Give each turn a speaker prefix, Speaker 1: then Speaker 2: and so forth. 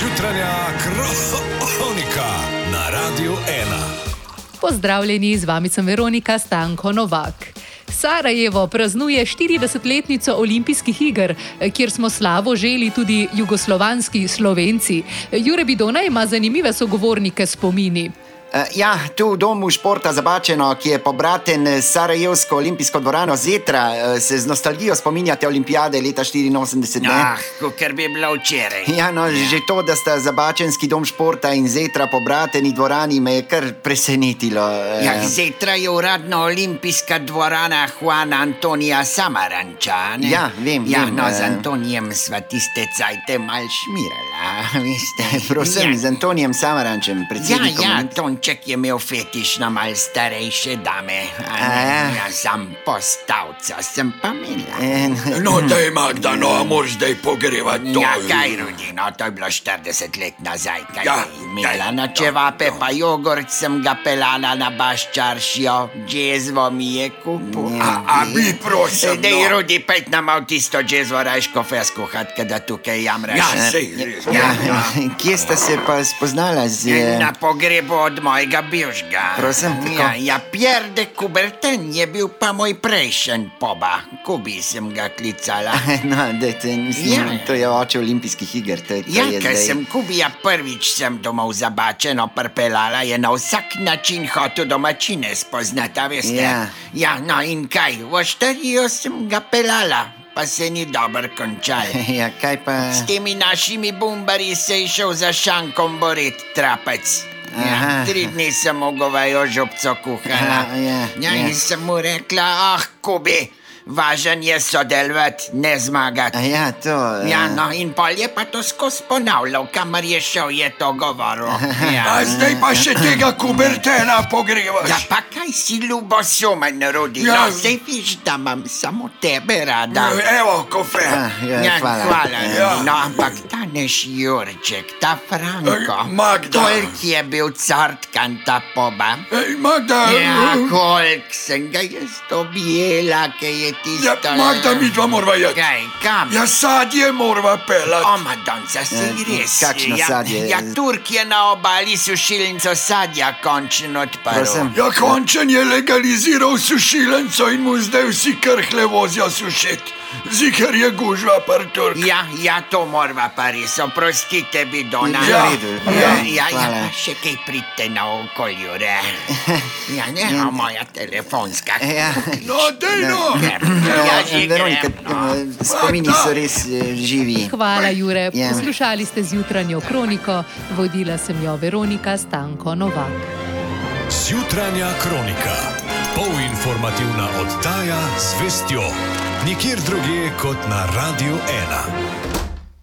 Speaker 1: jutranja kronika na Radiu 1.
Speaker 2: Pozdravljeni, z vami sem Veronika Stanko Novak. Sarajevo praznuje 40-letnico olimpijskih iger, kjer smo slavo želi tudi jugoslovanski slovenci. Jure Bidona ima zanimive sogovornike spomini.
Speaker 3: Eh, Ja, tu v domu športa Zabačeno, ki je pobraten s Sarajevsko olimpijsko dvorano Zetra, eh, se z nostalgijo spominjate olimpijade leta 84. ne?
Speaker 4: Ah, ker bi bila včeraj.
Speaker 3: Ja, no, že to, da sta Zabačenski dom športa in Zetra pobrateni dvorani, me je kar presenetilo. eh.
Speaker 4: Ja, Zetra je uradno olimpijska dvorana Juana Antonija Samaranča. a ne?
Speaker 3: Ja, vem,
Speaker 4: Ja,
Speaker 3: vem,
Speaker 4: no,
Speaker 3: eh.
Speaker 4: z Antonijem sva tiste cajte mal šmirala, veste.
Speaker 3: Eh, Prosim,
Speaker 4: ja.
Speaker 3: z Antonijem Samarančem,
Speaker 4: Ja,
Speaker 3: predsednikom.
Speaker 4: ja,
Speaker 3: Olimpij-
Speaker 4: Tonček je imel fetiš na mal starejše dame. a
Speaker 3: A ja.
Speaker 4: ne? Ja, sam postavca sem pa imela.
Speaker 3: Eh,
Speaker 5: No, daj, Magda, no, a moraš zdaj pogrevati to.
Speaker 4: Ja, kaj rudi, no to je bilo 40 let nazaj, kaj
Speaker 5: Ja,
Speaker 4: je imela
Speaker 5: daj,
Speaker 4: na
Speaker 5: no,
Speaker 4: čevape,
Speaker 5: no.
Speaker 4: pa jogurt sem ga pelala na baščaršijo, džezvo mi je kupil.
Speaker 3: Ne,
Speaker 5: A, a bi prosim,
Speaker 4: Sedaj je
Speaker 5: no.
Speaker 4: rudi pet nam v tisto džezvo rajško fesko, hatka da tukaj jamraš.
Speaker 5: Ja, sej, res.
Speaker 4: Ja,
Speaker 3: ja, Kje sta se pa spoznala z... eh,
Speaker 4: Na pogrebu od mojega bivšega.
Speaker 3: Prosim, tako.
Speaker 4: ja, ja, Pierre de Coubertin je bil pa moj prejšen poba, kubi sem ga klicala.
Speaker 3: No, dajte, mislim,
Speaker 4: Ja.
Speaker 3: to je oče olimpijskih iger. To, to
Speaker 4: Ja,
Speaker 3: je
Speaker 4: ker
Speaker 3: zdaj-
Speaker 4: sem Kubija prvič sem domov zabačeno prpelala, je na vsak način hotel domačine spoznati, a veste.
Speaker 3: Ja.
Speaker 4: ja, no in kaj, v štarijo sem ga pelala, pa se ni dobro končal.
Speaker 3: Ja, kaj pa?
Speaker 4: S temi našimi bombarji se je šel za šankom borit, trapec.
Speaker 3: Aha.
Speaker 4: Ja, tri dni sem ogovajo žopco kuhala.
Speaker 3: Aha, ja,
Speaker 4: ja,
Speaker 3: ja.
Speaker 4: in sem mu rekla, ah, Kubi, važen je sodelovati, ne zmagati.
Speaker 3: A ja, to. eh,
Speaker 4: Ja, no, in pol je pa to skozi ponavljal, kamor je šel, je to govoril.
Speaker 5: A
Speaker 4: Ja,
Speaker 5: zdaj pa še tega kubertena pogrevaš.
Speaker 4: ja pa kaj si ljubo sumen, rodi. Ja.
Speaker 5: Ja.
Speaker 4: No, zdaj viš, da imam samo tebe rada.
Speaker 5: Evo, kofe.
Speaker 3: Ah, ja,
Speaker 4: Ja,
Speaker 3: hvala.
Speaker 4: hvala.
Speaker 5: Ja.
Speaker 4: No, ampak ta naš Jurček, ta Franko,
Speaker 5: Ej, Magda.
Speaker 4: kolik je bil cartkan ta poba.
Speaker 5: Ej, Magda,
Speaker 4: Ja,
Speaker 5: eh,
Speaker 4: kolik sem ga jaz objela, ki je
Speaker 5: ja,
Speaker 4: tisto.
Speaker 5: Magda, mi dva morava jeti.
Speaker 4: Kaj, kam?
Speaker 5: Ja, sadje morava
Speaker 4: O,
Speaker 5: pelati.
Speaker 4: madonca, si
Speaker 3: Ja,
Speaker 4: res.
Speaker 3: kakšno
Speaker 4: ja,
Speaker 3: sadje?
Speaker 4: Ja, Turk je na obali sušilnico sadja končno odprl.
Speaker 3: Prosim.
Speaker 5: Ja, končen je legaliziral sušilenco in mu zdaj vsi krhle vozijo sušiti. Zikar je gužva, partur.
Speaker 4: Ja, ja, to morava pa res, oprostite, bidona.
Speaker 3: Ja, v redu.
Speaker 4: ja,
Speaker 3: Ja,
Speaker 4: ja, ja,
Speaker 3: hvala.
Speaker 4: pa še kaj pridite na okolju, re. Ja, ne, ja. moja telefonska.
Speaker 3: Ja.
Speaker 5: No, dej no.
Speaker 4: Ja,
Speaker 3: No,
Speaker 4: ja, že
Speaker 3: Veronika,
Speaker 4: grem, no.
Speaker 3: eh, spomini so res eh, živi.
Speaker 2: Hvala, Jure.
Speaker 3: Ja.
Speaker 2: Poslušali ste zjutranjo kroniko, vodila sem jo Veronika Stanko Novak.
Speaker 1: Zjutranja kronika. Polinformativna oddaja z vestjo. Nikjer drugje kot na Radiu 1.